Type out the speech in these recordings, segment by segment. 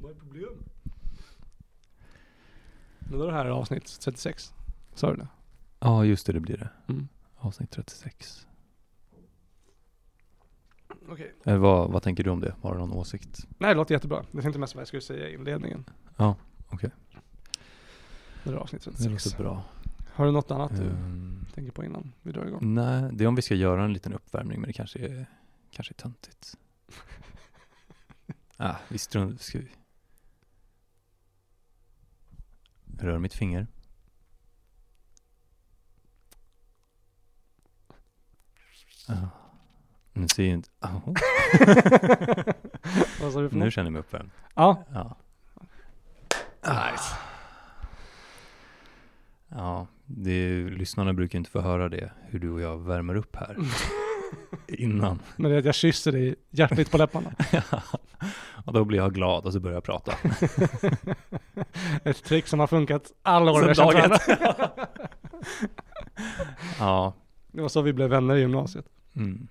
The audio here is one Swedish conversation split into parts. Vad är problemet? Det var det här avsnitt 36. Sa du det? Ja, just det, det blir det. Mm. Avsnitt 36. Okej. Eh, vad, vad tänker du om det? Har du någon åsikt? Nej, det låter jättebra. Jag tänkte mest vad jag skulle säga i inledningen. Ja, okej. När det är avsnitt Det 36. låter bra. Har du något annat du Ehm, tänker på innan vi drar igång? nej, det är om vi ska göra en liten uppvärmning, men det kanske är, kanske är töntigt. ah, vi struntar ska vi. Rör mitt finger. Ah, nu ser jag inte... Ah, Vad sa du för nu något? känner jag mig uppvärmd. Ja. Ja. Nice. Ja, det är, lyssnarna brukar inte få höra det, hur du och jag värmer upp här innan. Men det är att jag kysser dig hjärtligt på läpparna. och då blir jag glad och så börjar jag prata. Ett trick som har funkat alla år Sen jag känt dag varandra. Ja, Det var så vi blev vänner i gymnasiet. mm.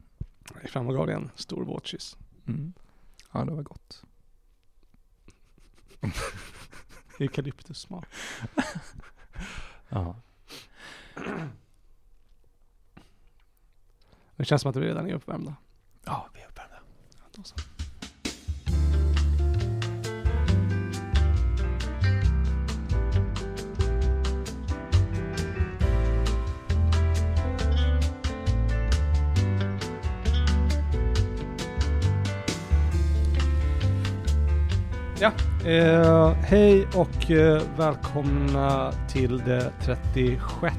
Jag gick fram och gav dig en stor våtkyss. Mm. ja det var gott. Eukalyptussmak. Ja. Det känns som att vi redan är uppvärmda. ja, vi är uppvärmda. Då så. Ja, eh, hej och eh, välkomna till det 36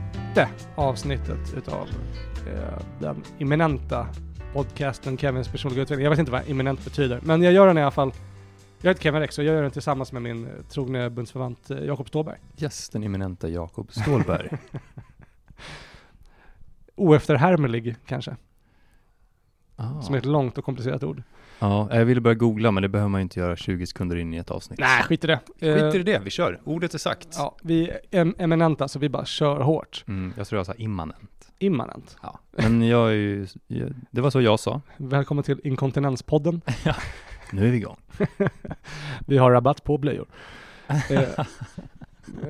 avsnittet utav eh, den eminenta podcasten Kevins personliga utveckling. Jag vet inte vad eminent betyder, men jag gör den i alla fall. Jag heter Kevin Rex och jag gör den tillsammans med min eh, trogne bundsförvant eh, Jakob Ståberg. Yes, den eminenta Jakob Stålberg. Oefterhärmlig kanske, ah. som är ett långt och komplicerat ord. Ja, jag ville börja googla, men det behöver man ju inte göra 20 sekunder in i ett avsnitt. Nej, skit i det. Skit i Eh, det, vi kör. Ordet är sagt. Ja, vi är em- eminenta så vi bara kör hårt. Mm, jag tror jag sa immanent. Immanent. Ja. Men jag är ju, det var så jag sa. Välkommen till Inkontinenspodden. Nu är vi igång. Vi har rabatt på blöjor. eh,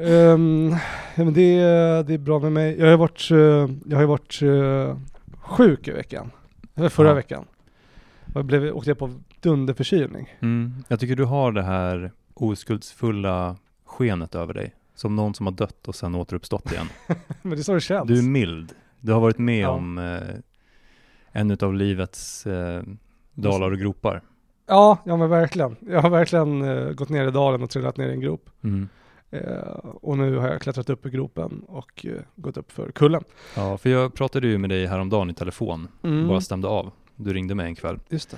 ehm, ja, men det, är- det är bra med mig. Jag har ju varit, eh, jag har ju varit eh, sjuk i veckan. Eller förra Ja. veckan. Och Jag blev, åkte jag på dunderförkylning. Mm. Jag tycker du har det här oskuldsfulla skenet över dig. Som någon som har dött och sen återuppstått igen. Men det är så det känns. Du är mild. Du har varit med Ja. om eh, en av livets eh, dalar och gropar. Ja, ja men verkligen. Jag har verkligen eh, gått ner i dalen och trillat ner i en grop. Eh, och nu har jag klättrat upp i gropen och eh, gått upp för kullen. Ja, för jag pratade ju med dig häromdagen i telefon. Mm. Bara stämde av. Du ringde mig en kväll. Just det.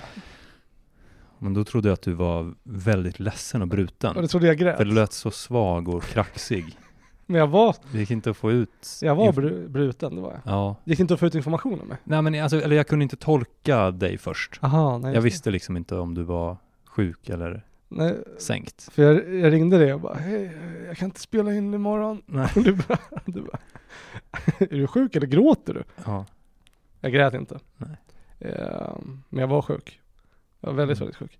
Men då trodde jag att du var väldigt ledsen och bruten. Och det trodde jag grät. För du lät så svag och kraxig. Men jag var, Det gick inte att få ut... jag var inf- bru- bruten, det var jag. Ja. Gick inte att få ut information om mig? Nej men alltså, eller jag kunde inte tolka dig först. Aha, nej. just Jag det. visste liksom inte om du var sjuk eller Nej, sänkt. för jag, jag ringde dig och bara, hej, eh, jag kan inte spela in imorgon. Nej. Och Du bara, du bara, är du sjuk eller gråter du? Ja. Jag grät inte. Nej. Ehm, men jag var sjuk. Jag var väldigt, Mm. väldigt sjuk.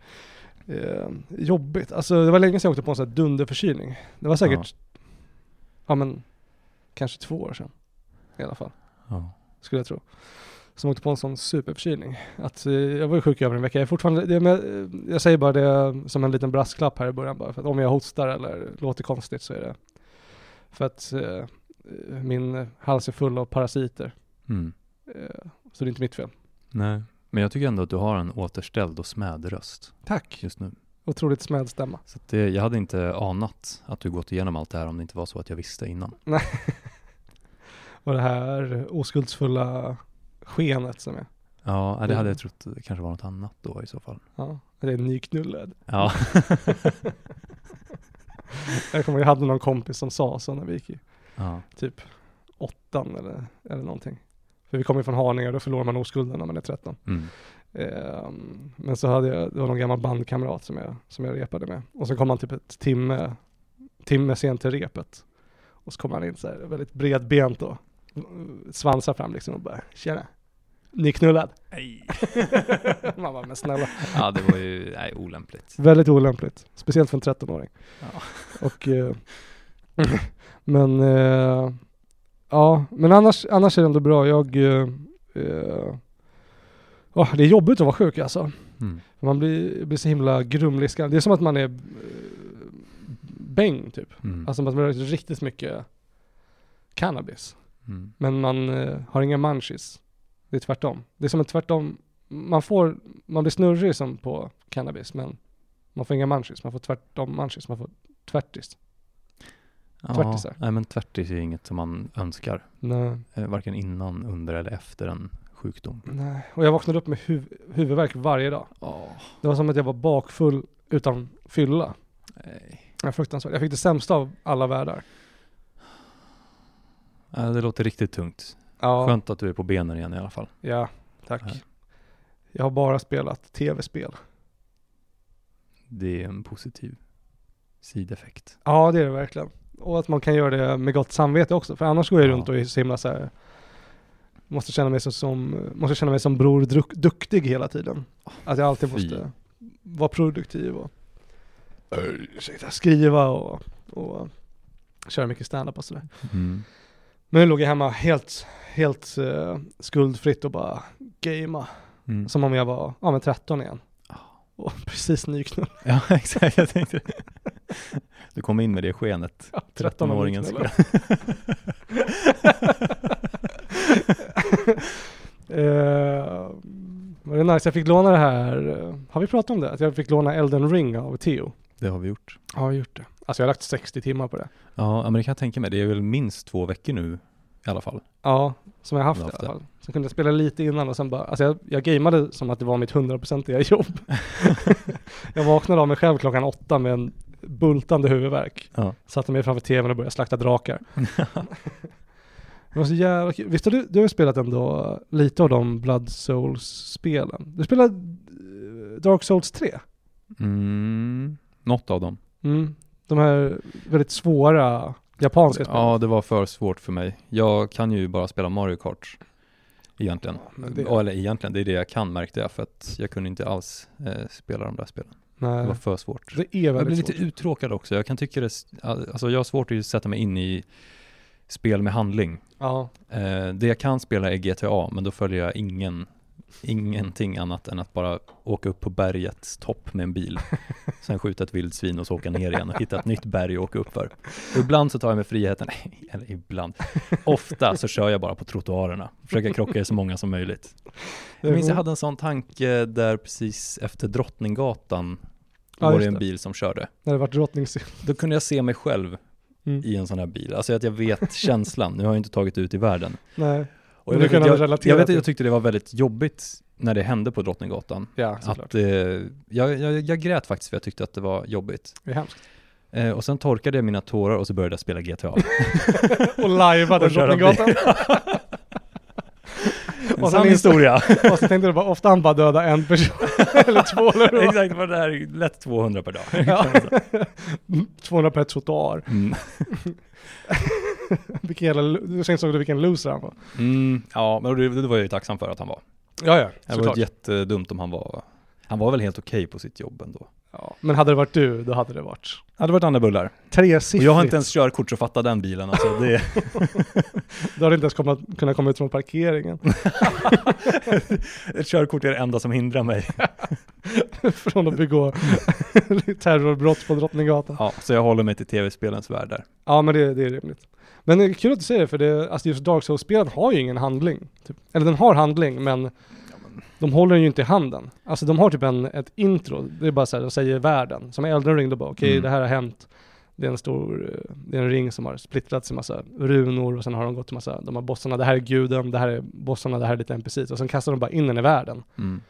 Ehm, jobbigt. Alltså det var länge sedan jag åkte på en sån här dunderförkylning. Det var säkert, ja, men kanske två år sedan i alla fall, ja. skulle jag tro. Som åkte på en sån superförkylning. Att, eh, jag var ju sjuk i över en vecka. Jag, är fortfarande, det, men, eh, jag säger bara det som en liten brasklapp här i början bara, för att om jag hostar eller låter konstigt så är det för att eh, min hals är full av parasiter. Mm. Eh, så det är inte mitt fel. Nej. Men jag tycker ändå att du har en återställd och smäd röst Tack. just nu. Otroligt smäll stämma. Så att det, jag hade inte anat att du gått igenom allt det här om det inte var så att jag visste innan. Och det här oskuldsfulla skenet som är. Ja, det Mm. hade jag trott det kanske var något annat då i så fall. Ja, det är nyknullad. Ja. Jag kommer jag hade någon kompis som sa så när vi gick i ja. typ åttan eller, eller någonting. För vi kommer ju från Haninge och då förlorar man oskulden när man är 13. Mm. Ehm, men så hade jag, det var någon gammal bandkamrat som jag, som jag repade med. Och så kom han typ ett timme, timme sent till repet. Och så kom han in så här väldigt bredbent och eh, svansar fram liksom och bara tjena. nyknullad. Nej. Man bara, men snälla. Ja, det var ju nej, olämpligt. Väldigt olämpligt. Speciellt för en 13-åring. Ja. Och, eh, men, eh, ja, men annars, annars är det ändå bra. Jag, eh, eh, åh, det är jobbigt att vara sjuk alltså. Mm. Man blir, blir så himla grumlig i skallen. Det är som att man är eh, bäng typ. Mm. Alltså man har riktigt mycket cannabis. Mm. Men man eh, har inga munchies. Det är tvärtom. Det är som en tvärtom. Man, får, man blir snurrig som på cannabis men man får inga munchies. Man får tvärtom munchies. Man får tvärtis. Ja, Tvärtisar. nej, men tvärtis är ju inget som man önskar. Nej. Eh, Varken innan, under eller efter en sjukdom. Nej. Och jag vaknade upp med huv- huvudvärk varje dag. Ja, Det var som att jag var bakfull utan fylla. nej. Ja, fruktansvärt. Jag fick det sämsta av alla världar. Ja, Det låter riktigt tungt. Ja. Skönt att du är på benen igen i alla fall. Ja, tack. Ja. Jag har bara spelat tv-spel. Det är en positiv sideffekt. Ja, det är det verkligen. Och att man kan göra det med gott samvete också, för annars går jag Ja. runt och är så himla så här, måste känna mig så som, måste känna mig som Bror Druk- Duktig hela tiden. Att jag alltid Fy. måste vara produktiv och ursäkta, skriva och, och köra mycket standup och sådär. Mm. Men nu låg jag hemma helt, helt eh, skuldfritt och bara gamea, Mm. som om jag var, ja men 13 igen. Ah. Och precis nyknullad. Ja, exakt. Jag tänkte Du kom in med det skenet. Ja, 13-åringen ska. ska... Eh, var det nice, jag fick låna det här, eh, har vi pratat om det? Att jag fick låna Elden Ring av Theo. Det har vi gjort. Ja, jag har gjort det. Alltså jag har lagt 60 timmar på det. Ja, ja, men det kan jag tänka mig. Det är väl minst två veckor nu i alla fall. Ja, som jag haft, Du har haft i alla fall. Sen kunde jag spela lite innan och sen bara, alltså jag, jag gameade som att det var mitt 100% jobb. jag vaknade av mig själv klockan åtta med en bultande huvudvärk. Ja. Satte mig framför tvn och började slakta drakar. det var så jävla kul. Visst har du, du har ju spelat ändå lite av de Blood Souls-spelen? Du spelade eh, Dark Souls 3? Mm. Något av dem. Mm. De här väldigt svåra japanska spelen? Ja, det var för svårt för mig. Jag kan ju bara spela Mario Kart. Egentligen. Ja, Ja, men det- Eller egentligen, det är det jag kan märkte jag. För att jag kunde inte alls eh, spela de där spelen. Det Nej, var för svårt. det är Jag blir väldigt lite svårt. uttråkad också. Jag kan tycka det, s- alltså jag har svårt att sätta mig in i spel med handling. Ja. Eh, det jag kan spela är GTA, men då följer jag ingen, ingenting annat än att bara åka upp på bergets topp med en bil, sen skjuta ett vildsvin och så åka ner igen och hitta ett nytt berg att åka upp för. Och ibland så tar jag mig friheten, eller ibland, ofta så kör jag bara på trottoarerna, försöker krocka i så många som möjligt. Jag minns jag hade en sån tanke där precis efter Drottninggatan Ja, var just det en det. bil som körde. När det var drottningsyl. Då kunde jag se mig själv Mm. i en sån här bil, alltså att jag vet känslan, nu har jag inte tagit ut i världen. Nej. Men Och jag, du vet, kan att jag, ändå jag, relatera vet att till- jag tyckte det var väldigt jobbigt när det hände på Drottninggatan. Ja, såklart. Att, eh, jag, jag, jag grät faktiskt för jag tyckte att det var jobbigt. Det är hemskt. Eh, och sen torkade jag mina tårar och så började jag spela GTA. Och lajvade Och köra Drottninggatan. En Och sann sen inst- historia. och så tänkte du bara, ofta han bara döda en person eller två eller vad? Exakt, vad det här är lätt 200 per dag. Ja. 200 per trottoar. Mm. Vilken jävla, sen såg du vilken loser han var. Mm, ja, men det, det var jag ju tacksam för att han var. Ja, ja, Det var jättedumt om han var, han var väl helt okej på sitt jobb ändå. Ja. Men hade det varit du, då hade det varit Ja, det var andra bullar. Och tresiffrigt. jag har inte ens körkort så fatta den bilen alltså. Det, Du hade inte ens kommit, kunnat komma ut från parkeringen. ett körkort är det enda som hindrar mig. från att begå Mm. terrorbrott på Drottninggatan. Ja, så jag håller mig till tv-spelens värld där. Ja, men det, det är rimligt. Men det är kul att du säger det, för det, alltså just Dark Souls-spelen har ju ingen handling. Typ. Eller den har handling, men de håller den ju inte i handen. Alltså de har typ en, ett intro, det är bara så här, de säger världen. Som i Elden Ring, då bara okej, Mm. det här har hänt. Det är en stor, eh, det är en ring som har splittrats i massa runor och sen har de gått till massa, de har bossarna, det här är guden, det här är bossarna, det här är lite NPCs. Och sen kastar de bara in den i världen. Mm.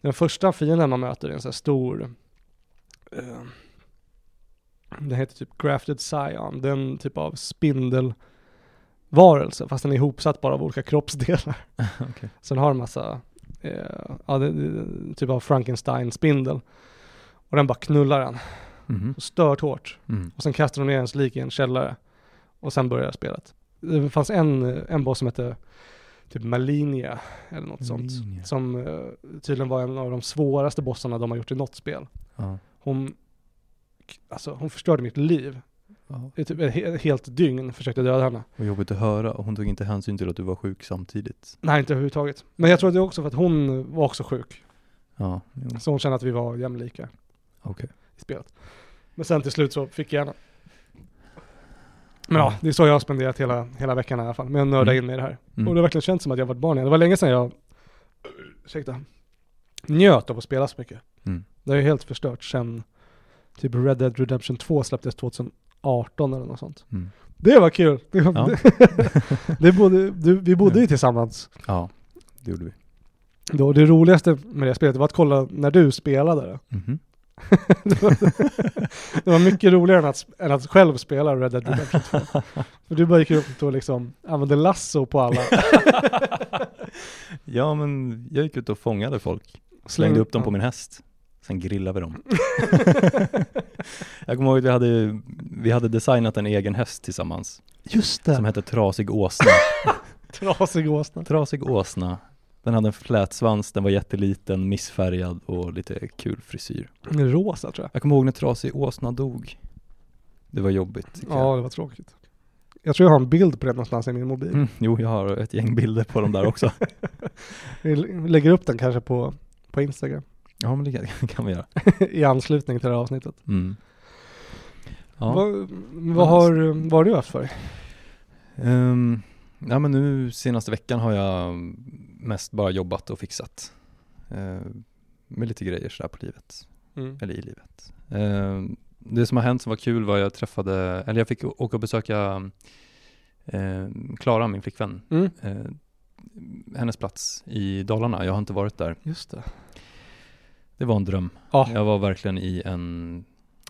Den första fienden man möter är en sån här stor, eh, den heter typ Grafted Scion, den typ av spindelvarelse, fast den är ihopsatt bara av olika kroppsdelar. Okej. Sen har en massa, eh, ja, det, det, typ av Frankenstein-spindel. Och den bara knullar en, Mhm. stört hårt. Mm. Och sen kastar de ner ens lik i en källare. Och sen börjar spelet. Det fanns en, en boss som hette typ Malinia eller något sånt. Malinia. Som eh, tydligen var en av de svåraste bossarna de har gjort i något spel. Ja. Hon, alltså, hon förstörde mitt liv. Ja. Det är typ ett he- helt dygn försökte jag döda henne. Vad jobbigt att höra. Och Hon tog inte hänsyn till att du var sjuk samtidigt. Nej, inte överhuvudtaget. Men jag tror att det är också för att hon var också sjuk. Ja, jo, Så hon kände att vi var jämlika okej. i spelet. Men sen till slut så fick jag henne. Men ja, det är så jag har spenderat hela, hela veckan i alla fall. Med att nörda Mm. in mig i det här. Mm. Och det har verkligen känts som att jag varit barn igen. Det var länge sedan jag, ursäkta, njöt av att spela så mycket. Mm. Det har ju helt förstört sedan typ Red Dead Redemption 2 släpptes 2018 eller något sånt. Mm. Det var kul! Det, var- Ja. det bodde, du, vi bodde ju tillsammans ja, det gjorde vi. då. Det roligaste med det spelet var att kolla när du spelade det. Mhm. Det var, det var mycket roligare än att, än att själv spela Red Dead Redemption 2. För du bara gick runt och liksom använde lasso på alla. ja, men jag gick ut och fångade folk. Slängde upp dem på min häst. Sen grillade vi dem. jag kommer ihåg att vi hade, vi hade designat en egen häst tillsammans. Just Som hette Trasig Åsna. Trasig åsna. Trasig åsna. Den hade en flät svans, den var jätteliten, missfärgad och lite kul frisyr. Rosa tror jag. Jag kommer ihåg när Trasig åsna dog. Det var jobbigt. tycker jag. Ja, det var tråkigt. Jag tror jag har en bild på det någonstans i min mobil. Mm, jo, jag har ett gäng bilder på dem där också. Vi l- lägger upp den kanske på, på Instagram ja, men det kan, kan vi göra. i anslutning till det här avsnittet. Mm. Ja. Vad, vad, har, vad har du haft för dig? Ehm, ja, men nu senaste veckan har jag mest bara jobbat och fixat. Ehm, med lite grejer sådär på livet. eller i livet. Eh, det som har hänt som var kul var jag träffade, eller jag fick å- åka och besöka eh, Klara, min flickvän, Mm. eh, hennes plats i Dalarna. Jag har inte varit där. Just det. Det var en dröm. Ja. Jag var verkligen i en,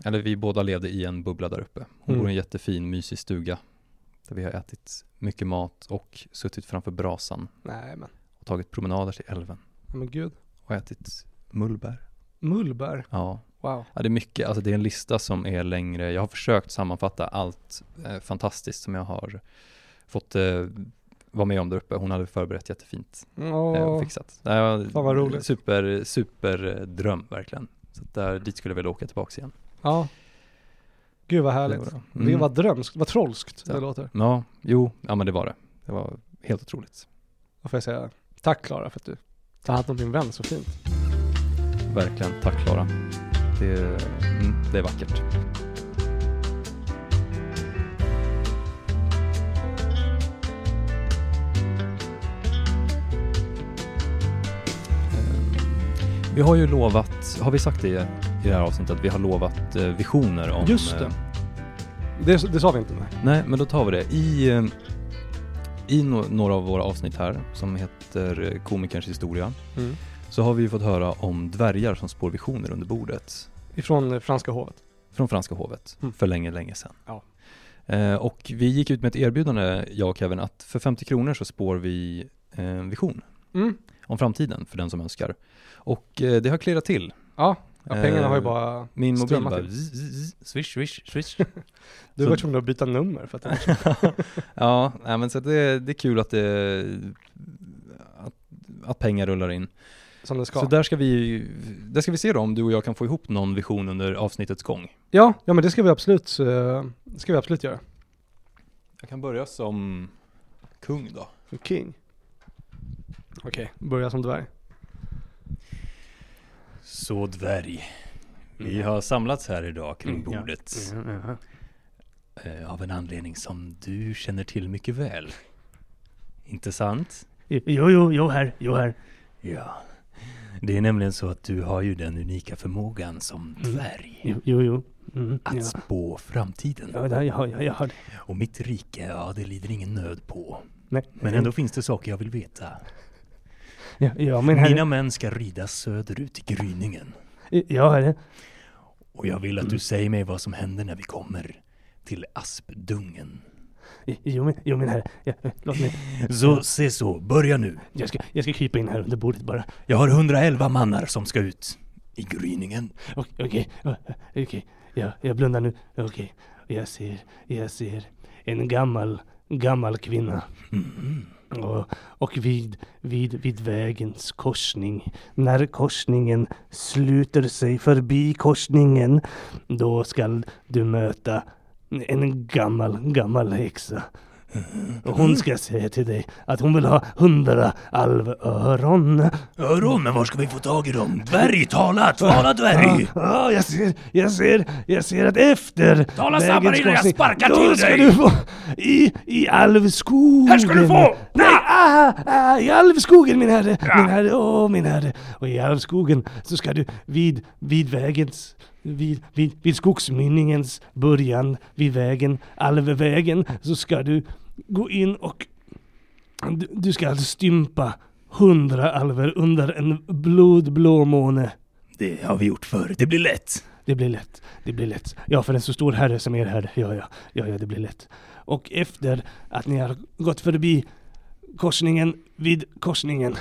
eller vi båda levde i en bubbla där uppe. Hon Mm. bor i en jättefin, mysig stuga där vi har ätit mycket mat och suttit framför brasan Nej men, och tagit promenader till älven men gud. och ätit mullbär. Mullbär. Ja, Wow. Ja, det är mycket, alltså det är en lista som är längre. Jag har försökt sammanfatta allt eh, fantastiskt som jag har fått eh, vara med om där uppe. Hon hade förberett jättefint eh, och Ja. fixat. Det var Fan, vad roligt. Super, super eh, dröm verkligen. Så att där, dit skulle jag vilja åka tillbaka igen. ja. Gud vad Det var härligt. bra. Det Mm. var drömskt, vad trolskt det Ja. låter. Ja, jo, ja men det var det. Det var helt otroligt. Då får jag säga tack Klara för att du tar hand om min vän så fint. Verkligen, tack Klara. Det, mm, det är vackert. Eh, Vi har ju lovat, har vi sagt det i det här avsnittet, att vi har lovat eh, visioner om... Just det. eh, Det, det sa vi inte nej. Nej, men då tar vi det. I, eh, i no- några av våra avsnitt här, som heter eh, Komikerns historia, Mm. så har vi ju fått höra om dvärgar som spår visioner under bordet. Ifrån eh, franska hovet. från franska hovet Mm. för länge, länge sedan. Ja. Eh, och vi gick ut med ett erbjudande, jag och Kevin, att för 50 kronor så spår vi eh, en vision Mm. om framtiden för den som önskar. Och eh, det har klirrat till. Ja, ja pengarna Eh, har ju bara... Min mobil Strömmat bara till. zzz, zzz, swish, swish, swish. Du så- var tvungen att byta nummer för att den ja, nej, men så det, det är kul att, det, att, att pengar rullar in. som den ska. Så där ska, vi, där ska vi se då om du och jag kan få ihop någon vision under avsnittets gång. Ja, ja men det ska vi absolut, eh, det ska vi absolut göra. Jag kan börja som kung då. King. Okej, börja som dvärg. Så dvärg, vi Mm. har samlats här idag kring Mm, ja. bordet eh, av en anledning som du känner till mycket väl. Inte sant? Jo, jo, jo herr, jo herr. Ja. Det är nämligen så att du har ju den unika förmågan som Mm. dvärg Jo, jo, jo. Mm, att ja. spå framtiden. Ja, ja, ja, ja, jag har det. Och mitt rike, ja det lider ingen nöd på. Nej. Men ändå finns det saker jag vill veta. Ja, ja men herre. Mina män ska rida söderut i gryningen. Ja, herre. Och jag vill att du säger mig vad som händer när vi kommer till Aspdungen. Jo, men, jo, men herre. Ja, eh, låt mig. Så se så, börja nu. Jag ska, jag ska krypa in här under bordet bara. Jag har 111 mannar som ska ut i gryningen. Okej, okej. ja, Okej. Ja, jag blundar nu. Okej. Jag ser, jag ser en gammal, gammal kvinna. Mm. Och, och vid, vid, vid vägens korsning, när korsningen sluter sig förbi korsningen, då skall du möta en gammal, gammal häxa. Och hon ska säga till dig att hon vill ha hundra alvöron. Öron, men var ska vi få tag i dem? Dvärg, tala! Tala dvärg! Ja, jag ser, jag ser, jag ser att efter Tala snabbare innan jag korsning, sparkar då till ska dig. Du få, i, I alvskogen! Här ska du få! Nej, ah, ah, I alvskogen min herre! Min herre, åh min herre! Och i alvskogen så ska du vid, vid vägens vid, vid, vid skogsmynningens början, vid vägen, alvevägen, så ska du gå in och du, du ska alltså stympa hundra alver under en blodblå måne. Det har vi gjort förr, det blir lätt. Det blir lätt. Det blir lätt. Ja, för en så stor herre som er herre. Ja, ja, ja, ja, det blir lätt. Och efter att ni har gått förbi korsningen vid korsningen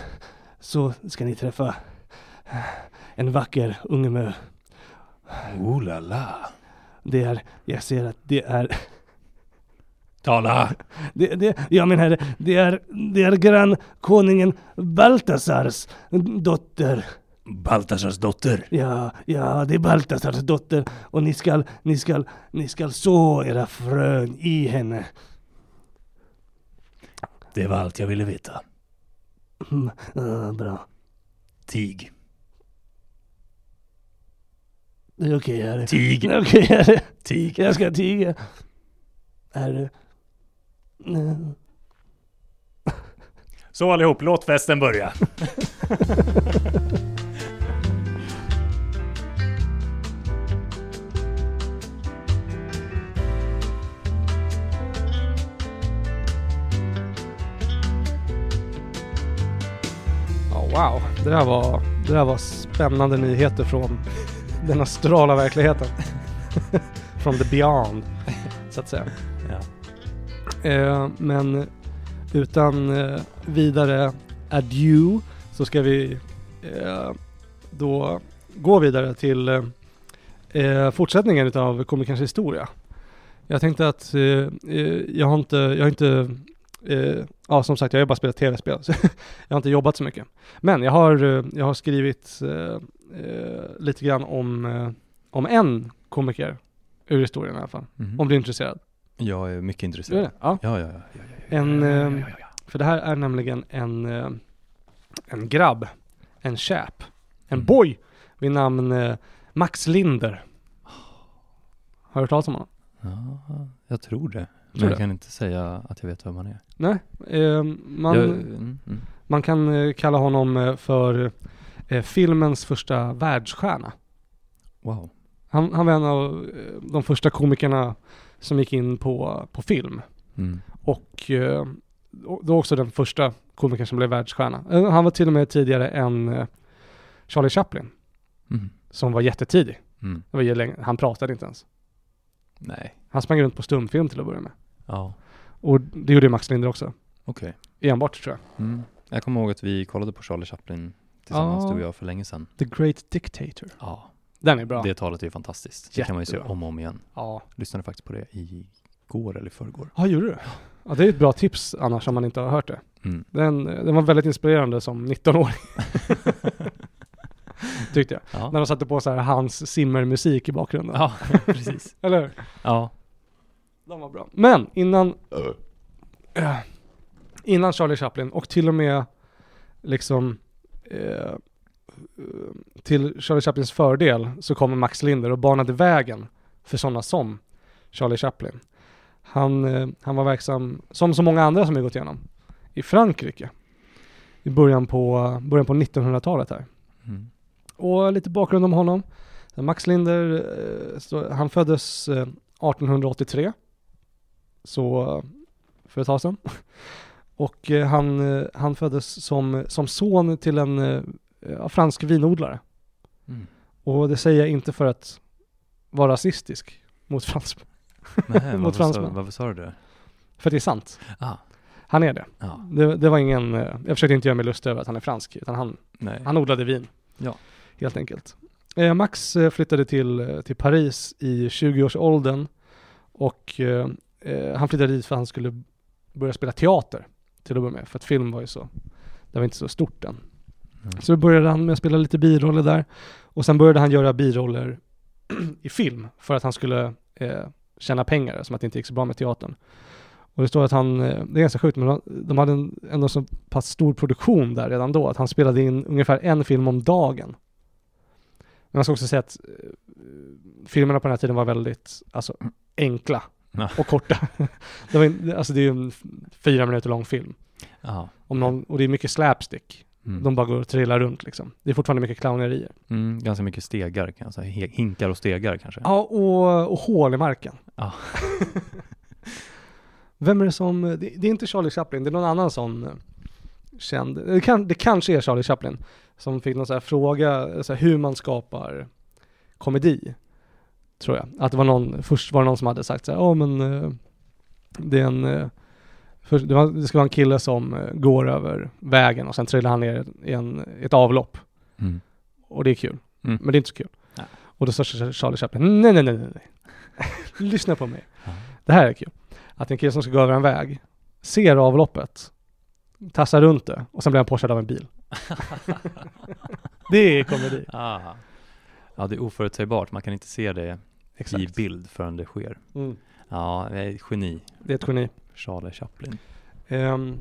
så ska ni träffa en vacker ungemö. Oh la la. Det är, jag ser att det är, Tala! det, det, ja min herre, det är, det är grannkonungen Baltasars dotter. Baltasars dotter. Ja, ja, det är Baltasars dotter och ni skall, ni skall, ni skall så era frön i henne. Det var allt jag ville veta. Mm, ja, bra. Tig. Det är okej herre. Tig. Det är okej herre. Tig. Jag ska tiga. Herre. Mm. Så allihop, låt festen börja. Ja, wow, det där, var, det där var spännande nyheter från den astrala verkligheten. från the beyond, så att säga. Eh, men utan eh, vidare adieu så ska vi eh, då gå vidare till eh, eh, fortsättningen utav komikerns historia. Jag tänkte att eh, eh, jag har inte, jag har inte, eh, ja som sagt jag har ju bara spelat tv-spel så jag har inte jobbat så mycket. Men jag har, eh, jag har skrivit eh, eh, lite grann om, eh, om en komiker ur historien i alla fall. Mhm. Om du är intresserad. Jag är mycket Du är det? intresserad. Ja. Ja, ja, ja. ja. En, eh, för det här är nämligen en, eh, en grabb, en chap, en Mm. boy vid namn eh, Max Linder. Har du hört talas om honom? ja jag tror det. Men Tror jag det. kan inte säga att jag vet vem man är. Nej, eh, man, Jag, mm, mm. man kan eh, kalla honom eh, för eh, filmens första världsstjärna. Wow. Han, han var en av eh, de första komikerna som gick in på, på film. Mm. Och eh, då då också den första komikern som blev världsstjärna. Eh, Han var till och med tidigare än eh, Charlie Chaplin, Mm. som var jättetidig. Mm. Det var ju länge, han pratade inte ens. Nej. Han sprang runt på stumfilm till att börja med. Ja, Och det gjorde ju Max Linder också. okej. Enbart tror jag. Mm. Jag kommer ihåg att vi kollade på Charlie Chaplin tillsammans, Ja. du och jag, för länge sedan. The Great Dictator. Ja, Den är bra. det talet är ju fantastiskt. Det kan man ju se Jättebra. om och om igen. Ja. Lyssnade faktiskt på det igår eller i förrgår. Ja, gjorde du? Ja, det är ett bra tips annars om man inte har hört det. Mm. Den, eh, den var väldigt inspirerande som 19-åring. Tyckte jag. Ja. När de satte på så här hans simmermusik i bakgrunden. ja, precis. Eller hur? Ja. De var bra. Men innan... Eh, Innan Charlie Chaplin och till och med liksom eh, eh, till Charlie Chaplins fördel så kommer Max Linder och banade vägen för sådana som Charlie Chaplin. Han, eh, han var verksam, som så många andra som vi gått igenom, i Frankrike i början på, början på 1900-talet här. Mm. Och lite bakgrund om honom. Max Linder, eh, så, han föddes eh, 1883. Så eh, för ett tag sedan. Och eh, han, eh, han föddes som, som son till en eh, ja, fransk vinodlare. Mm. Och det säger jag inte för att vara rasistisk mot fransmän. Nej, Mot varför, sa, fransmän. varför sa du det? För det är sant. Ah. Han är det. Ja, det. Det var ingen, eh, jag försökte inte göra mig lustig över att han är fransk, utan han, nej. Eh, Han odlade vin. Ja. Helt enkelt. Eh, Max eh, flyttade till, eh, till Paris i 20-årsåldern och eh, eh, han flyttade dit för att han skulle börja spela teater till att börja med, för att film var ju så, det var inte så stort än. Så då började han med att spela lite biroller där och sen började han göra biroller i film för att han skulle eh, tjäna pengar som att det inte gick så bra med teatern. Och det står att han, eh, det är ganska sjukt, men de- de hade en, ändå så pass stor produktion där redan då, att han spelade in ungefär en film om dagen. Men man ska också säga att eh, filmerna på den här tiden var väldigt, alltså, enkla Ja. och korta. det var, in- alltså det är ju en f- fyra minuter lång film. Ja. Om någon, och det är mycket slapstick. Mm. De bara går och trillar runt liksom. Det är fortfarande mycket clownerier. Mm, ganska mycket stegar kan jag säga. He- Hinkar och stegar kanske. Ja, och, och hål i marken. Ja. Vem är det som, det, det är inte Charlie Chaplin, det är någon annan sån eh, känd, det, kan, det kanske är Charlie Chaplin, som fick någon sån här fråga, så här, hur man skapar komedi. Tror jag. Att det var någon, först var det någon som hade sagt så här, ja men eh, det är en, eh, först, det, var, det ska vara en kille som eh, går över vägen och sen trillar han ner i en, i ett avlopp. Mm. Och det är kul. Mm. Men det är inte så kul. Nej. Och då sa Charlie Chaplin, nej, nej, nej, nej, nej. Lyssna på mig. Ja. Det här är kul. Att en kille som ska gå över en väg, ser avloppet, tassar runt det och sen blir han påkörd av en bil. det är komedi. Ah. Ja, det är oförutsägbart. Man kan inte se det i Exakt. bild förrän det sker. Mm. Ja, det är ett geni. Det är ett geni. Charlie Chaplin. Ehm,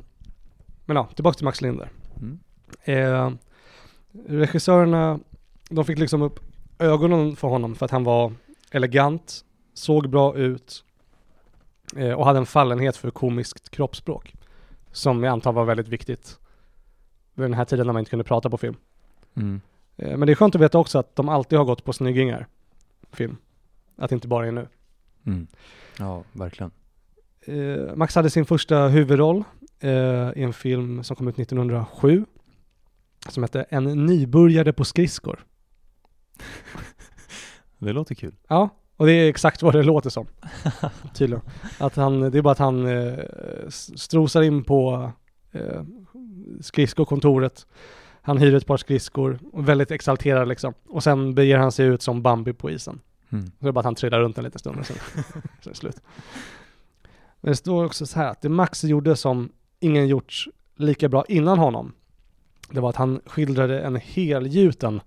men ja, tillbaka till Max Linder. Mm. Eh, regissörerna, de fick liksom upp ögonen för honom för att han var elegant, såg bra ut eh, och hade en fallenhet för komiskt kroppsspråk. Som jag antar var väldigt viktigt vid den här tiden när man inte kunde prata på film. Mm. Eh, men det är skönt att veta också att de alltid har gått på snyggingar, film. Att det inte bara är nu. Mm. Ja, verkligen. Eh, Max hade sin första huvudroll eh, i en film som kom ut 1907 som hette En nybörjare på skridskor. Det låter kul. Ja, och det är exakt vad det låter som. Tydligen. Att han, det är bara att han eh, s- strosar in på eh, skridskokontoret. Han hyr ett par skridskor, och väldigt exalterad liksom. Och sen beger han sig ut som Bambi på isen. Mm. Så det är bara att han trillar runt en liten stund och sen, sen är det slut. Men det står också så här att det Max gjorde som ingen gjort lika bra innan honom, det var att han skildrade en helgjuten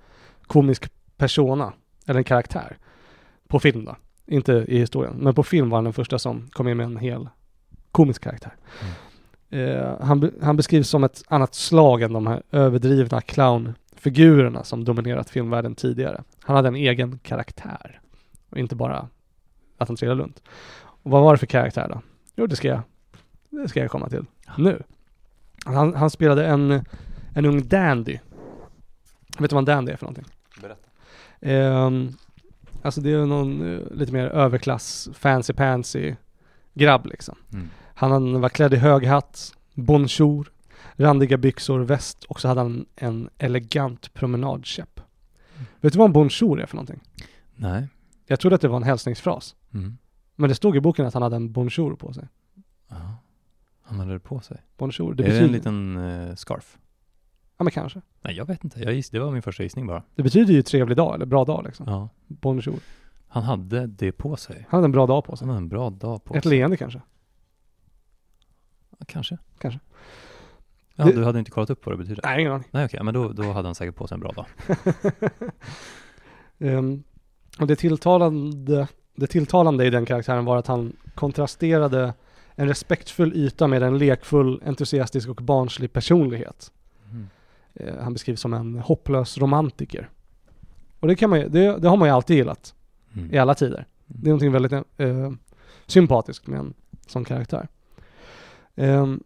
komisk persona, eller en karaktär, på film då. Inte i historien, men på film var han den första som kom in med en hel komisk karaktär. Eh, han, be- han beskrivs som ett annat slag än de här överdrivna clownfigurerna som dominerat filmvärlden tidigare. Han hade en egen karaktär och inte bara att han trillade runt. Och vad var det för karaktär då? Jo, det ska jag, det ska jag komma till nu. Han, han spelade en, en ung dandy. Vet du vad en dandy är för någonting? Berätta. Ehm, alltså det är någon eh, lite mer överklass, fancy pansy grabb liksom. Mm. Han var klädd i hög hatt, bonjour, randiga byxor, väst och så hade han en elegant promenadkäpp. Vet du vad en bonjour är för någonting? Nej. Jag trodde att det var en hälsningsfras. Mm. Men det stod i boken att han hade en bonjour på sig. Ja. Han hade det på sig. Bonjour, det Det är betyder... det en liten eh, scarf? Ja men kanske. Nej, jag vet inte. Jag giss, det var min första gissning bara. Det betyder ju trevlig dag eller bra dag liksom. Ja. Bonjour. Han hade det på sig. Han hade en bra dag på sig. Han hade en bra dag på Ett sig. leende kanske. Ja, Kanske. Kanske. Ja, Det- Du hade inte kollat upp vad det betyder? Nej, ingen aning. Nej, okej. Men då, då hade han säkert på sig en bra dag. Ehm, och det tilltalande, det tilltalande i den karaktären var att han kontrasterade en respektfull yta med en lekfull, entusiastisk och barnslig personlighet. Mm. Eh, han beskrivs som en hopplös romantiker. Och det, kan man ju, det, det har man ju alltid gillat Mm. i alla tider. Det är någonting väldigt eh, sympatiskt med en sån karaktär. Ehm,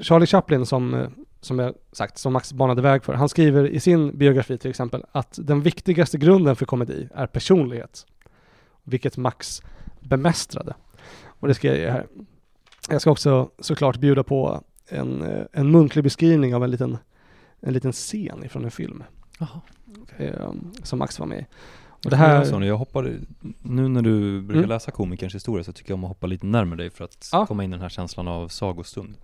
Charlie Chaplin som, eh, som jag sagt, som Max banade väg för, han skriver i sin biografi till exempel att den viktigaste grunden för komedi är personlighet, vilket Max bemästrade. Och det ska jag ge här. Jag ska också såklart bjuda på en, eh, en muntlig beskrivning av en liten, en liten scen ifrån en film Jaha. eh, som Max var med i. Och det här- jag hoppar, nu när du brukar Mm. läsa komikerns historia så tycker jag om att hoppa lite närmare dig för att Ja. komma in i den här känslan av sagostund.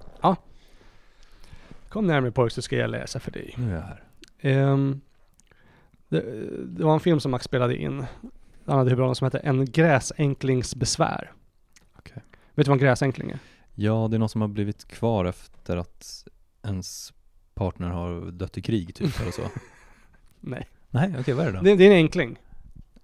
Kom närmare pojk så ska jag läsa för dig. Nu är jag här. Ehm, det, det var en film som Max spelade in. Han hade huvudrollen som hette En gräsänklings besvär. Okej. Vet du vad en gräsänkling är? Ja, det är någon som har blivit kvar efter att ens partner har dött i krig typ eller så. Nej. Nej, okej vad är det då? Det, det är en enkling.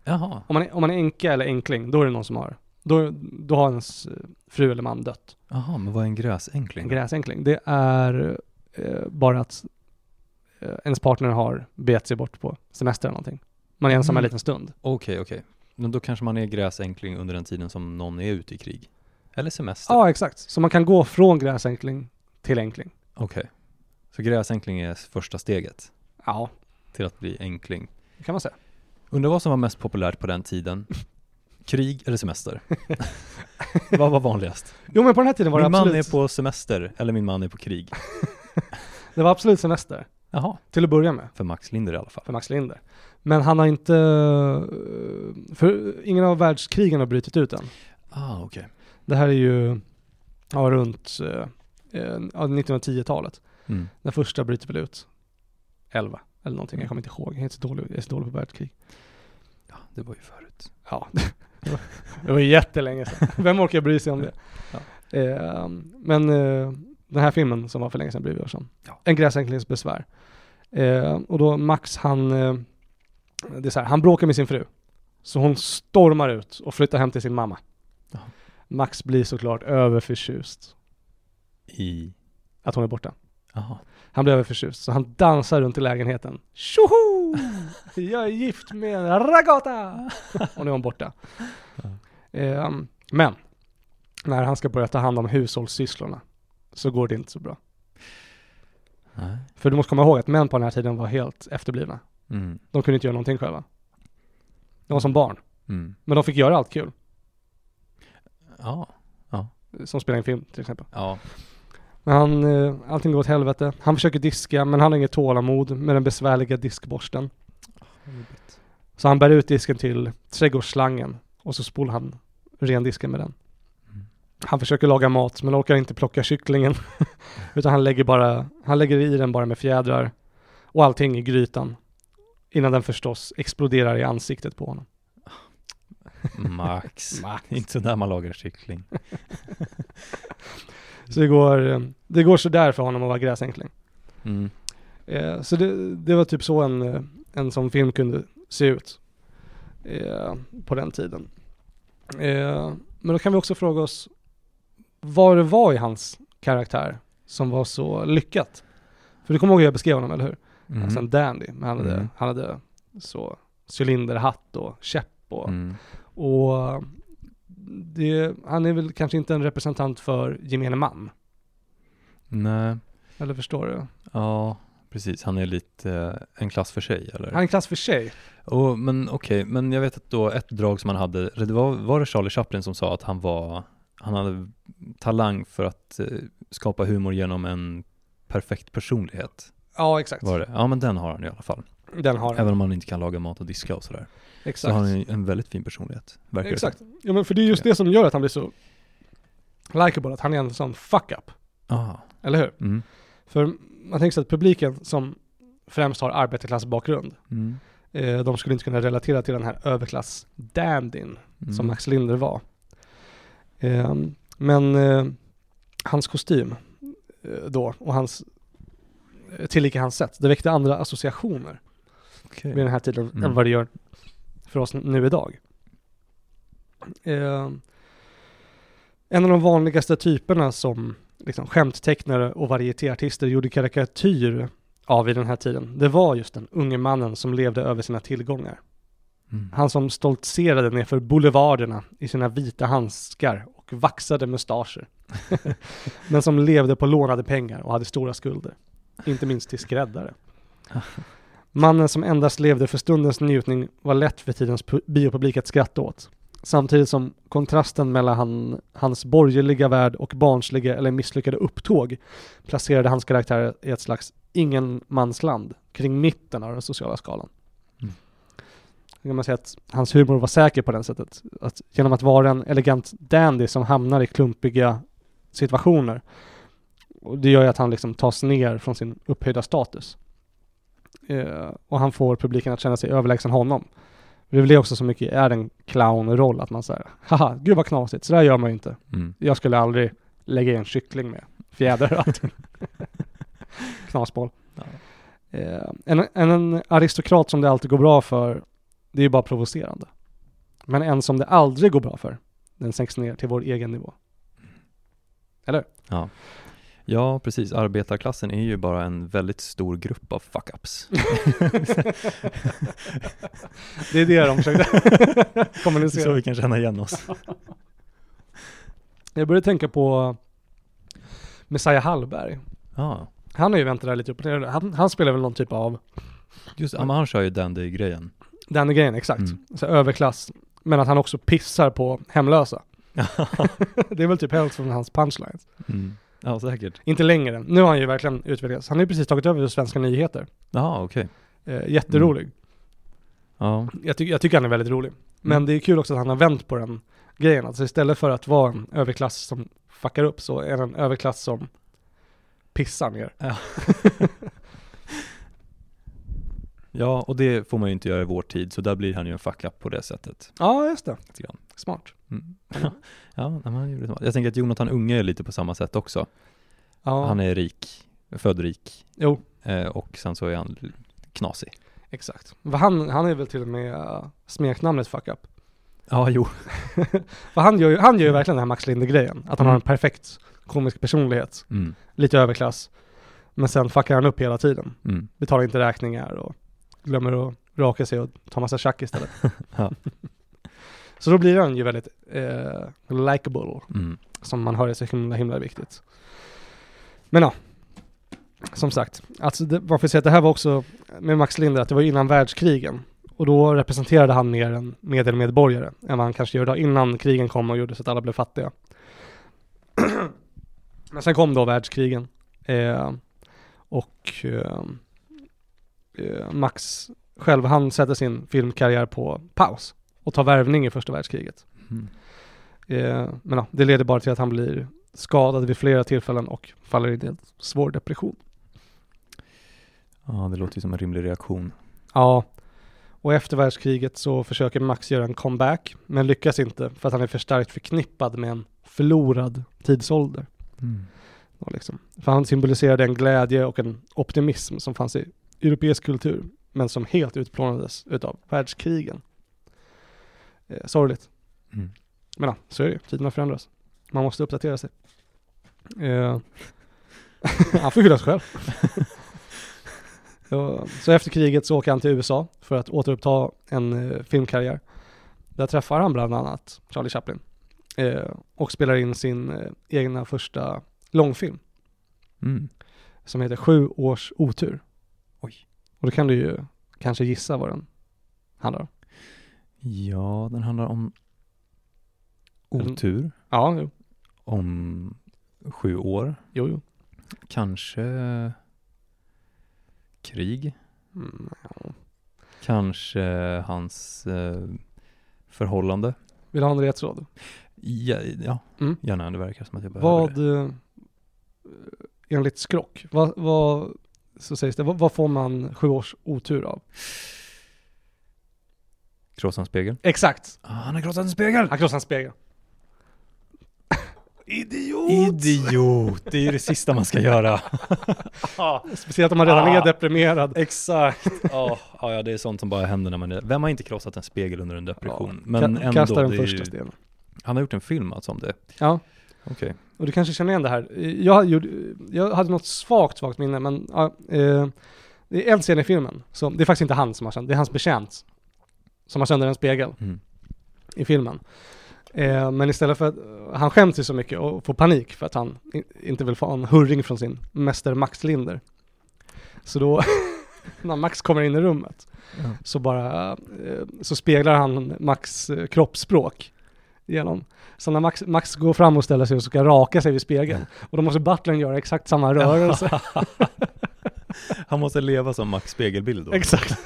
Jaha. Om man, är, om man är enka eller enkling, då är det någon som har. Då, då har ens eh, fru eller man dött. Jaha, men vad är en gräsänkling? En gräsänkling. Det är eh, bara att eh, ens partner har begett sig bort på semester eller någonting. Man är ensam en Mm. liten stund. Okej, okej. Men då kanske man är gräsänkling under den tiden som någon är ute i krig? Eller semester? Ja, exakt. Så man kan gå från gräsänkling till enkling. Okej. Så gräsänkling är första steget Ja, till att bli enkling. det kan man säga. Undrar vad som var mest populärt på den tiden? Krig eller semester? vad var vanligast? Jo, men på den här tiden var det Min man absolut, är på semester, eller min man är på krig. det var absolut semester. Jaha, Till att börja med, för Max Linder i alla fall. för Max Linder. Men han har inte... eh, För ingen av världskrigen har brutit ut än. Ah, okej. Det här är ju ja, runt eh, eh, ja, 1910-talet. Mm. Den första bryter väl ut 11 eller någonting. Jag kommer inte ihåg. Jag är så dålig, jag är så dålig på världskrig. Ja, det var ju förut. Ja, det var- det var jättelänge sedan. Vem orkar bry sig om det? Eh, men eh, den här filmen som var för länge sedan bryr vi oss om. Ja. En gräsänklings besvär. Eh, och då Max han, eh, det är så här, han bråkar med sin fru. Så hon stormar ut och flyttar hem till sin mamma. Ja. Max blir såklart överförtjust I... att hon är borta. Jaha. Han blev överförtjust, så han dansar runt i lägenheten. Tjoho! Jag är gift med en ragata! Och nu är hon borta. Ehm, men, när han ska börja ta hand om hushållssysslorna så går det inte så bra. Nej. För du måste komma ihåg att män på den här tiden var helt efterblivna. Mm. De kunde inte göra någonting själva. De var som barn, Mm. men de fick göra allt kul. Ja. Som spela in film till exempel. Ja. Men han, eh, allting går åt helvete. Han försöker diska, men han har inget tålamod med den besvärliga diskborsten. Så han bär ut disken till trädgårdsslangen och så spolar han ren disken med den. Mm. Han försöker laga mat men orkar inte plocka kycklingen utan han lägger, bara, han lägger i den bara med fjädrar och allting i grytan innan den förstås exploderar i ansiktet på honom. Max. Inte så där man lagar kyckling. Så det går, eh, det går sådär för honom att vara gräsänkling. Mm. Eh, så det, det var typ så en, eh, en sån film kunde se ut eh, på den tiden. Eh, men då kan vi också fråga oss vad det var i hans karaktär som var så lyckat. För du kommer ihåg hur jag beskrev honom, eller hur? Mm. Alltså en dandy. Men han hade, Mm. han hade så cylinderhatt och käpp och, Mm. och det, han är väl kanske inte en representant för gemene man. Nej. Eller förstår du? Ja, precis. Han är lite eh, en klass för sig eller? Han är en klass för sig. Och, men okej, men jag vet att då ett drag som han hade, eller det var, var det Charlie Chaplin som sa att han var, han hade talang för att eh, skapa humor genom en perfekt personlighet? Ja, exakt. Var det? Ja men den har han i alla fall. Den har han. Även om han inte kan laga mat och diska och sådär. Så Exakt. har han en, en väldigt fin personlighet, verkar det Exakt. Ja men för det är just det som gör att han blir så likeable, att han är en sån fuck-up. som. Ah, Eller hur? mm, För man tänker sig att publiken som främst har arbetarklassbakgrund, mm, eh, de skulle inte kunna relatera till den här överklass-dandyn mm. som Max Linder var. Eh, men eh, hans kostym eh, då och hans eh, tillika hans sätt, det väckte andra associationer Okej. vid den här tiden Mm. än vad det gör för oss nu idag. Eh, en av de vanligaste typerna som liksom, skämttecknare och varietéartister gjorde karikatyr av i den här tiden, det var just den unge mannen som levde över sina tillgångar. Mm. Han som stoltserade nerför boulevarderna i sina vita handskar och vaxade mustascher. Men som levde på lånade pengar och hade stora skulder. Inte minst till skräddare. Mannen som endast levde för stundens njutning var lätt för tidens pu- biopublik att skratta åt. Samtidigt som kontrasten mellan han, hans borgerliga värld och barnsliga eller misslyckade upptåg placerade hans karaktär i ett slags ingenmansland kring mitten av den sociala skalan. Då kan man säga att hans humor var säker på det sättet. Att genom att vara en elegant dandy som hamnar i klumpiga situationer. Och det gör ju att han liksom tas ner från sin upphöjda status. Eh, och han får publiken att känna sig överlägsen honom. Det är väl det också så mycket är en clownroll, att man säger haha, gud vad knasigt, så där gör man ju inte. Mm. Jag skulle aldrig lägga i en kyckling med fjädrar och allting. Knasboll. Ja. Eh, en, en aristokrat som det alltid går bra för, det är ju bara provocerande. Men en som det aldrig går bra för, den sänks ner till vår egen nivå. Ja, precis. Arbetarklassen är ju bara en väldigt stor grupp av Mm, fuck-ups. Det är det de försökte kommunicera. Så vi kan känna igen oss. Jag började tänka på Messiah Hallberg. Ja, Han har ju väntat där lite upp och ner. Han, han spelar väl någon typ av just ja, men han kör ju dandy-grejen. den grejen exakt. Mm. Så här, överklass. Men att han också pissar på hemlösa. det är väl typ hälften från hans punchlines. Mm. Ja, säkert. Inte längre. Nu har han ju verkligen utvecklats. Han har ju precis tagit över Svenska nyheter. Ja, okej. Eh, jätterolig. Mm. Ja, Jag, ty- jag tycker han är väldigt rolig. Men Mm. det är kul också att han har vänt på den grejen. Alltså istället för att vara en överklass som fuckar upp så är han en överklass som pissar ner. ja, och det får man ju inte göra i vår tid, så där blir han ju en fuck-up på det sättet. Ja, just det. Lite grann. Smart. Mm. ja, nej, men han gjorde det. Jag tänker att Jonathan Unge är lite på samma sätt också. Ja, Han är rik, född rik, jo, eh, och sen så är han l- knasig. exakt. Vad Han, han är väl till och med äh, smeknamnet fuck up. Ja, jo. För han gör ju, han gör ju verkligen den här Max Linder-grejen. Att han Mm. har en perfekt komisk personlighet. Mm. Lite överklass. Men sen fuckar han upp hela tiden. Mm. Betalar inte räkningar och glömmer att raka sig och ta massa tjack istället. Ja. Så då blir han ju väldigt eh, likable. Mm. Som man hör är så himla, himla viktigt. Men ja. Som sagt, alltså det, man får säga att det här var också med Max Linder, att det var innan världskrigen. Och då representerade han mer en medelmedborgare än vad han kanske gör idag innan krigen kom och gjorde så att alla blev fattiga. Men sen kom då världskrigen. Eh, och eh, eh, Max själv, han sätter sin filmkarriär på paus och tar värvning i första världskriget. Mm. Eh, men ja, det leder bara till att han blir skadad vid flera tillfällen och faller in i en svår depression. Ja, det låter ju som en rimlig reaktion. Ja, och efter världskriget så försöker Max göra en comeback, men lyckas inte för att han är för starkt förknippad med en förlorad tidsålder. Mm. Och liksom. För han symboliserade en glädje och en optimism som fanns i europeisk kultur, men som helt utplånades utav världskrigen. Eh, sorgligt. Mm. Men ja, så är det ju. Tiderna förändras. Man måste uppdatera sig. Eh, han får skylla sig själv. Ja, så efter kriget så åker han till USA för att återuppta en eh, filmkarriär. Där träffar han bland annat Charlie Chaplin eh, och spelar in sin eh, egna första långfilm Mm. som heter Sju års otur. Oj. Och då kan du ju kanske gissa vad den handlar om. Ja, den handlar om otur, Ja, jo, om sju år, jo. jo. kanske krig, Mm, ja. kanske hans eh, förhållande. Vill du ha en ledtråd? Ja, ja Mm. gärna. Det verkar som att jag behöver Vad, det. eh, enligt skrock, vad, vad, så sägs det, vad, vad får man sju års otur av? Krossans spegel. Exakt! Ah, han har krossat en spegel! Han krossar en spegel. Idiot! Det är ju det sista man ska göra. Speciellt om man redan Ah. är deprimerad. Exakt. Ja, ja, ja, det är sånt som bara händer när man är... Vem har inte krossat en spegel under en depression? Ja, Men ka- ändå, Kasta den det är första ju, stenen. han har gjort en film alltså om det. Ja. Okej. Och du kanske känner igen det här. Jag, gjorde, jag hade något svagt, svagt minne, men ja, eh, det är en scen i filmen. Som, det är faktiskt inte han som har sönder, det är hans betjänt. Som har sönder en spegel Mm. i filmen. Eh, men istället för att, han skäms ju så mycket och får panik för att han i- inte vill få en hurring från sin mäster Max Linder. Så då, när Max kommer in i rummet, Ja. så bara, eh, så speglar han Max eh, kroppsspråk genom. Så när Max, Max går fram och ställer sig och ska raka sig vid spegeln, och då måste butlern göra exakt samma rörelse. Han måste leva som Max spegelbild då. Exakt.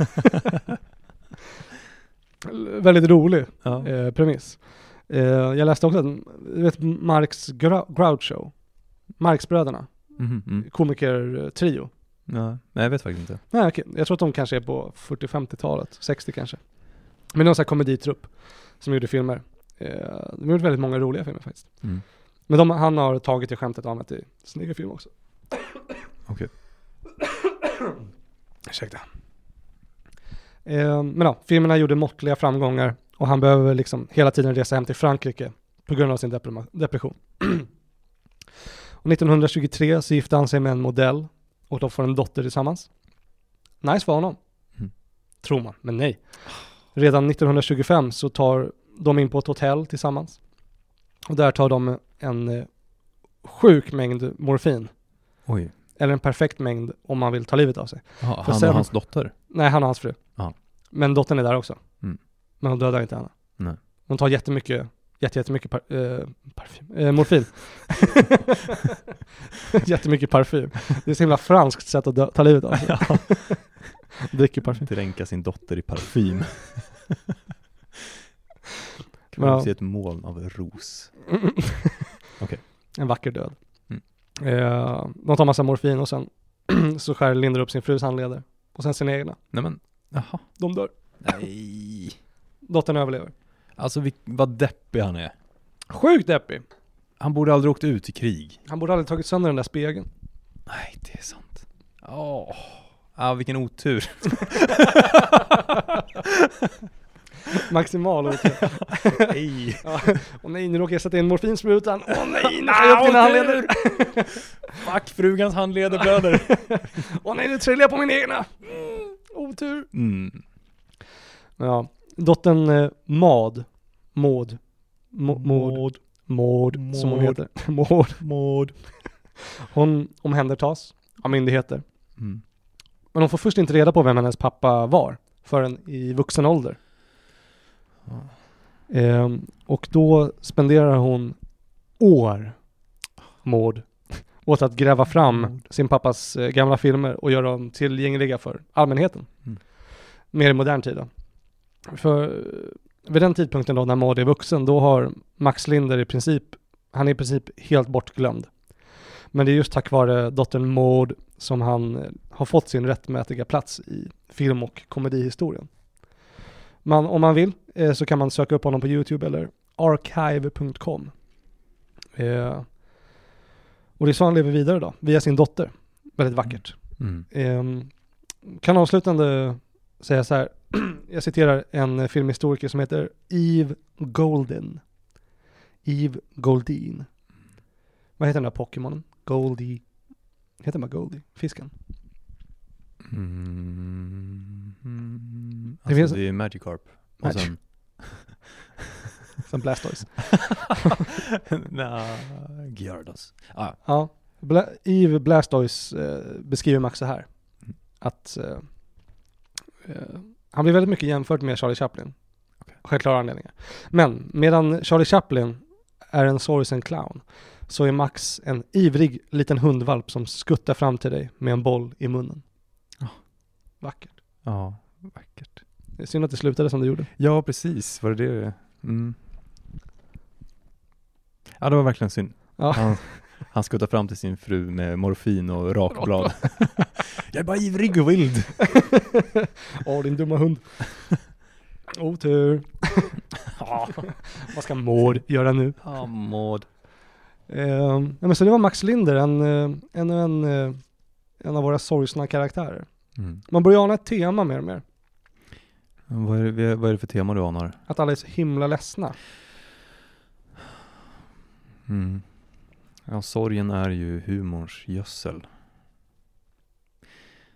Väldigt rolig Ja. eh, premiss. Eh, jag läste också, att- du vet Marx Grou- Groucho? Marxbröderna, Mhm, mm. komikertrio. ja. Nej, jag vet faktiskt inte. Nej, okej. Jag tror att de kanske är på 40-50-talet, 60 kanske. Men det var en sån här komeditrupp som gjorde filmer. Eh, de gjorde väldigt många roliga filmer faktiskt. Mm. Men de, han har tagit det skämtet och använt det i sin egen film också. Okej. Ursäkta. Eh, men ja, filmerna gjorde måttliga framgångar och han behöver liksom hela tiden resa hem till Frankrike på grund av sin deprema- depression. och 1923 så gifte han sig med en modell och de får en dotter tillsammans. Nice för honom. Mm. Tror man, men nej. Redan 1925 så tar de in på ett hotell tillsammans. Och där tar de en eh, sjuk mängd morfin. Oj. Eller en perfekt mängd om man vill ta livet av sig. Ja, För han sen- och hans dotter. Nej, han och hans fru. Ja. Men dottern är där också. Mm. Men hon dödar inte henne. Nej. Hon tar jättemycket, jätte, jättemycket par, eh, parfym, eh, morfin. jättemycket parfym. Det är ett så himla franskt sätt att dö- ta livet av sig. Ja. Dricker parfym. Dränka sin dotter i parfym. kan Men man ja. se ett moln av ros. Okej. En vacker död. Mm. Eh, de tar massa morfin och sen så skär Linder upp sin frus handleder. Och sen sina egna. Nej men, jaha. De dör. Nej. Dottern överlever. Alltså vil- vad deppig han är. Sjukt deppig. Han borde aldrig åkt ut i krig. Han borde aldrig tagit sönder den där spegeln. Nej, det är sant. Åh. Ah, vilken otur. Maximal otur. Nej. Ja. Åh nej, nu råkar jag sätta in morfinsprutan. Åh nej, nu skär jag upp dina handleder. Fuck, frugans handleder blöder. Åh nej, nu trillar jag på min egna. Mm, otur. Mm. Ja, dottern eh, Maud. Maud. Mo- Maud. Maud, som hon Maud. heter. Maud. Mord. Hon omhändertas av myndigheter. Mm. Men hon får först inte reda på vem hennes pappa var förrän i vuxen ålder. Ehm, och då spenderar hon år, Maud, åt att gräva fram sin pappas eh, gamla filmer och göra dem tillgängliga för allmänheten. Mm. Mer i modern tid då. För eh, vid den tidpunkten då när Maud är vuxen, då har Max Linder i princip, han är i princip helt bortglömd. Men det är just tack vare dottern Maud som han eh, har fått sin rättmätiga plats i film och komedihistorien. Man, om man vill eh, så kan man söka upp honom på YouTube eller archive.com. Eh, och det är så han lever vidare då, via sin dotter. Väldigt vackert. Mm. Ehm, kan avslutande säga så här, jag citerar en eh, filmhistoriker som heter Eve Golden. Eve Goldin. Vad heter den där Pokémonen? Goldie. Heter den bara Goldie? Fisken? Mm. Mm. Det Alltså, det, finns- är Magikarp. Och Magic- sen... Sen Blastoise. Nja, Gyarados. Ah, Ja. Bla- Eve Blastoise eh, beskriver Max så här. Mm. Att eh, eh, han blir väldigt mycket jämfört med Charlie Chaplin. Okej. Självklara anledningar. Men medan Charlie Chaplin är en sorgsen clown så är Max en ivrig liten hundvalp som skuttar fram till dig med en boll i munnen. Ja. Vackert. ja, vackert. Det är synd att det slutade som det gjorde. Ja, precis. Var det det? Mm. Ja, det var verkligen synd. Ja. Han, han skuttar fram till sin fru med morfin och rakblad. Jag är bara ivrig och vild. Åh, din dumma hund. Otur. Vad ska Maud göra nu? Ja, Maud. Eh, nej, men så det var Max Linder, en, eh, en, en, eh, en av våra sorgsna karaktärer. Mm. Man börjar ana ett tema mer och mer. Vad, är det, vad är det för tema du anar? Att alla är så himla ledsna. Mm. Ja, sorgen är ju humorns gödsel.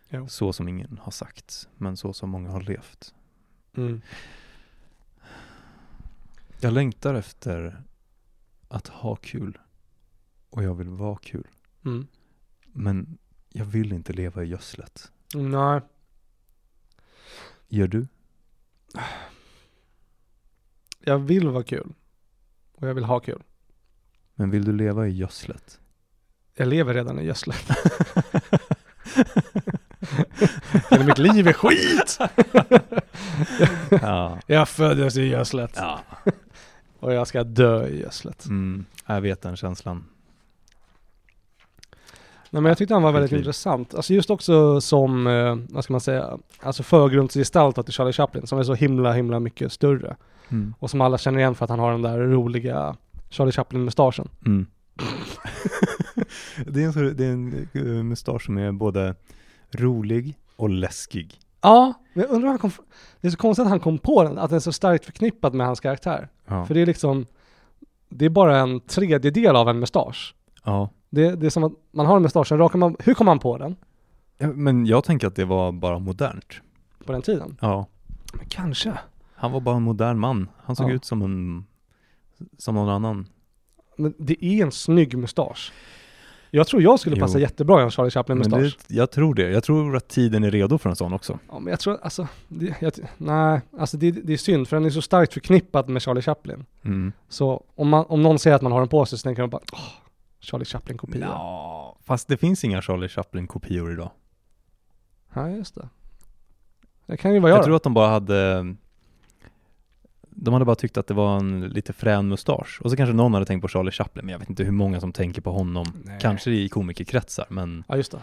Jo. Så som ingen har sagt, men så som många har levt. Mm. Jag längtar efter att ha kul. Och jag vill vara kul. Mm. Men jag vill inte leva i gödslet. Nej, Gör du? jag vill vara kul. Och jag vill ha kul. Men vill du leva i gödslet? Jag lever redan i gödslet. Hela mitt liv är skit! ja. Jag föddes i gödslet. ja. Och jag ska dö i gödslet. Mm, jag vet den känslan. Nej, men jag tyckte han var väldigt Verkligen. intressant. Alltså just också som, eh, vad ska man säga, alltså förgrundsgestaltat till Charlie Chaplin som är så himla, himla mycket större. Mm. Och som alla känner igen för att han har den där roliga Charlie Chaplin-mustaschen. Mm. Det är en, sån- det är en eh, mustasch som är både rolig och läskig. Ja, men jag undrar om han kom... Det är så konstigt att han kom på den, att den är så starkt förknippad med hans karaktär. Ja. För det är liksom, det är bara en tredjedel av en mustasch. ja. Det, det är som att man har en mustasch, sen rakar man, hur kom han på den? Ja, Men jag tänker att det var bara modernt. På den tiden? Ja. Men kanske. Han var bara en modern man. Han såg Ja. ut som en, som någon annan. Men det är en snygg mustasch. Jag tror jag skulle Jo. passa jättebra i en Charlie Men det, Chaplin-mustasch. jag tror det. Jag tror att tiden är redo för en sån också. Ja, men jag tror, alltså, det, jag, nej, alltså det, det är synd för den är så starkt förknippad med Charlie Chaplin. Mm. Så om, man, om någon säger att man har den på sig så tänker man bara, åh, Charlie Chaplin-kopia. Ja, fast det finns inga Charlie Chaplin-kopior idag. Ja, just det. Det kan ju vara jag, Jag då. tror att de bara hade de hade bara tyckt att det var en lite frän mustasch. Och så kanske någon hade tänkt på Charlie Chaplin, men jag vet inte hur många som tänker på honom. Nej. Kanske i komikerkretsar, men Ja, just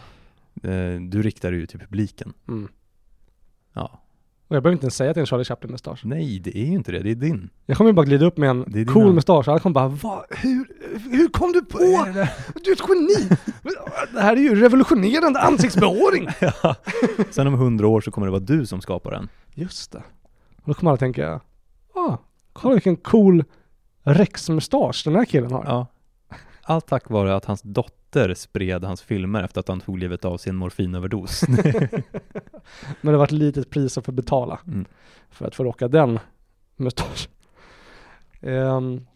det. eh, du riktar dig ju till publiken. Mm. Ja. Och jag behöver inte ens säga att det är en Charlie Chaplin-mustasch. Nej, det är ju inte det. Det är din. Jag kommer ju bara glida upp med en Det är dina- cool mustasch och alla kommer bara, Va? Hur, hur kom du på? Du är ett geni! det här är ju revolutionerande ansiktsbehåring! Sen om hundra år så kommer det vara du som skapar den. Just det. Och då kommer alla tänka, ah, kolla vilken cool Rex-mustasch den här killen har. Ja. Allt tack vare att hans dotter spred hans filmer efter att han tog livet av sin morfinöverdos. Men det var ett litet pris att få betala Mm. för att få rocka den mustaschen. Ehm,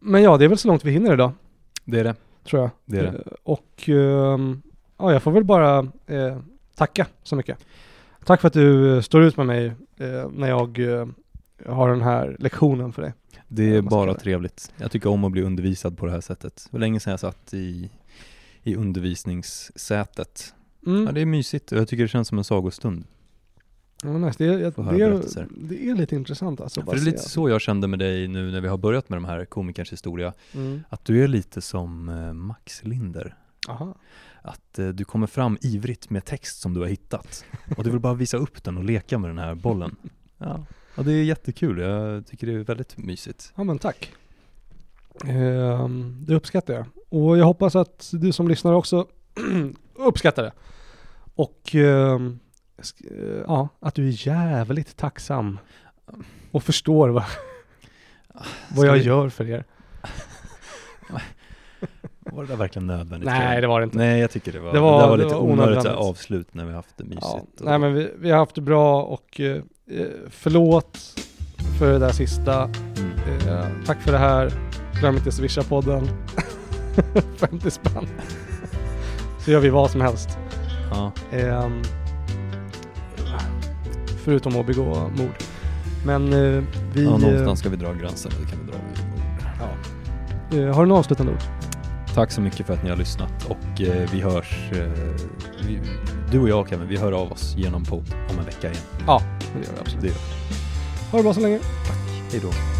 men ja, det är väl så långt vi hinner idag, det är det. tror jag. Det är det. Eh, Och ehm, ja, jag får väl bara eh, tacka så mycket. Tack för att du eh, står ut med mig eh, när jag eh, har den här lektionen för dig. Det är Vad ska bara jag- trevligt. Jag tycker om att bli undervisad på det här sättet. Det var länge sedan jag satt i, i undervisningssätet. Mm. Ja, det är mysigt och jag tycker det känns som en sagostund. Ja, men nice. det, är, jag, Få höra det, är, berättelser. det är lite intressant alltså. För det är lite så jag kände med dig nu när vi har börjat med de här komikerns historia. Mm. Att du är lite som eh, Max Linder. Aha. Att eh, du kommer fram ivrigt med text som du har hittat. Och du vill bara visa upp den och leka med den här bollen. Ja, ja det är jättekul. Jag tycker det är väldigt mysigt. Ja men tack. Ehm, det uppskattar jag. Och jag hoppas att du som lyssnar också uppskattar det. Och ehm, sk- eh, ja, att du är jävligt tacksam och förstår vad, vad jag Ah, vi- gör för er. Var det där verkligen nödvändigt? tror Nej, jag? det var det inte. Nej, jag tycker det var, Det det var- var, det lite var onödigt så här onödvändigt. avslut när vi haft det mysigt. Ja, och- nej men vi, vi har haft det bra och eh, eh, förlåt för det där sista. Mm. Eh, tack för det här. Glöm inte swisha-podden. 50 spänn. Så gör vi vad som helst. Ja, Ehm, förutom att begå mord. Men eh, vi... ja, någonstans ska vi dra gränsen. Det kan vi dra. eh, eh, har du några avslutande ord? Tack så mycket för att ni har lyssnat och eh, vi hörs, eh, vi, du och jag Kevin, vi hör av oss genom podd om en vecka igen. Ja, det gör vi absolut. Det gör Ha det bra så länge. Hej då.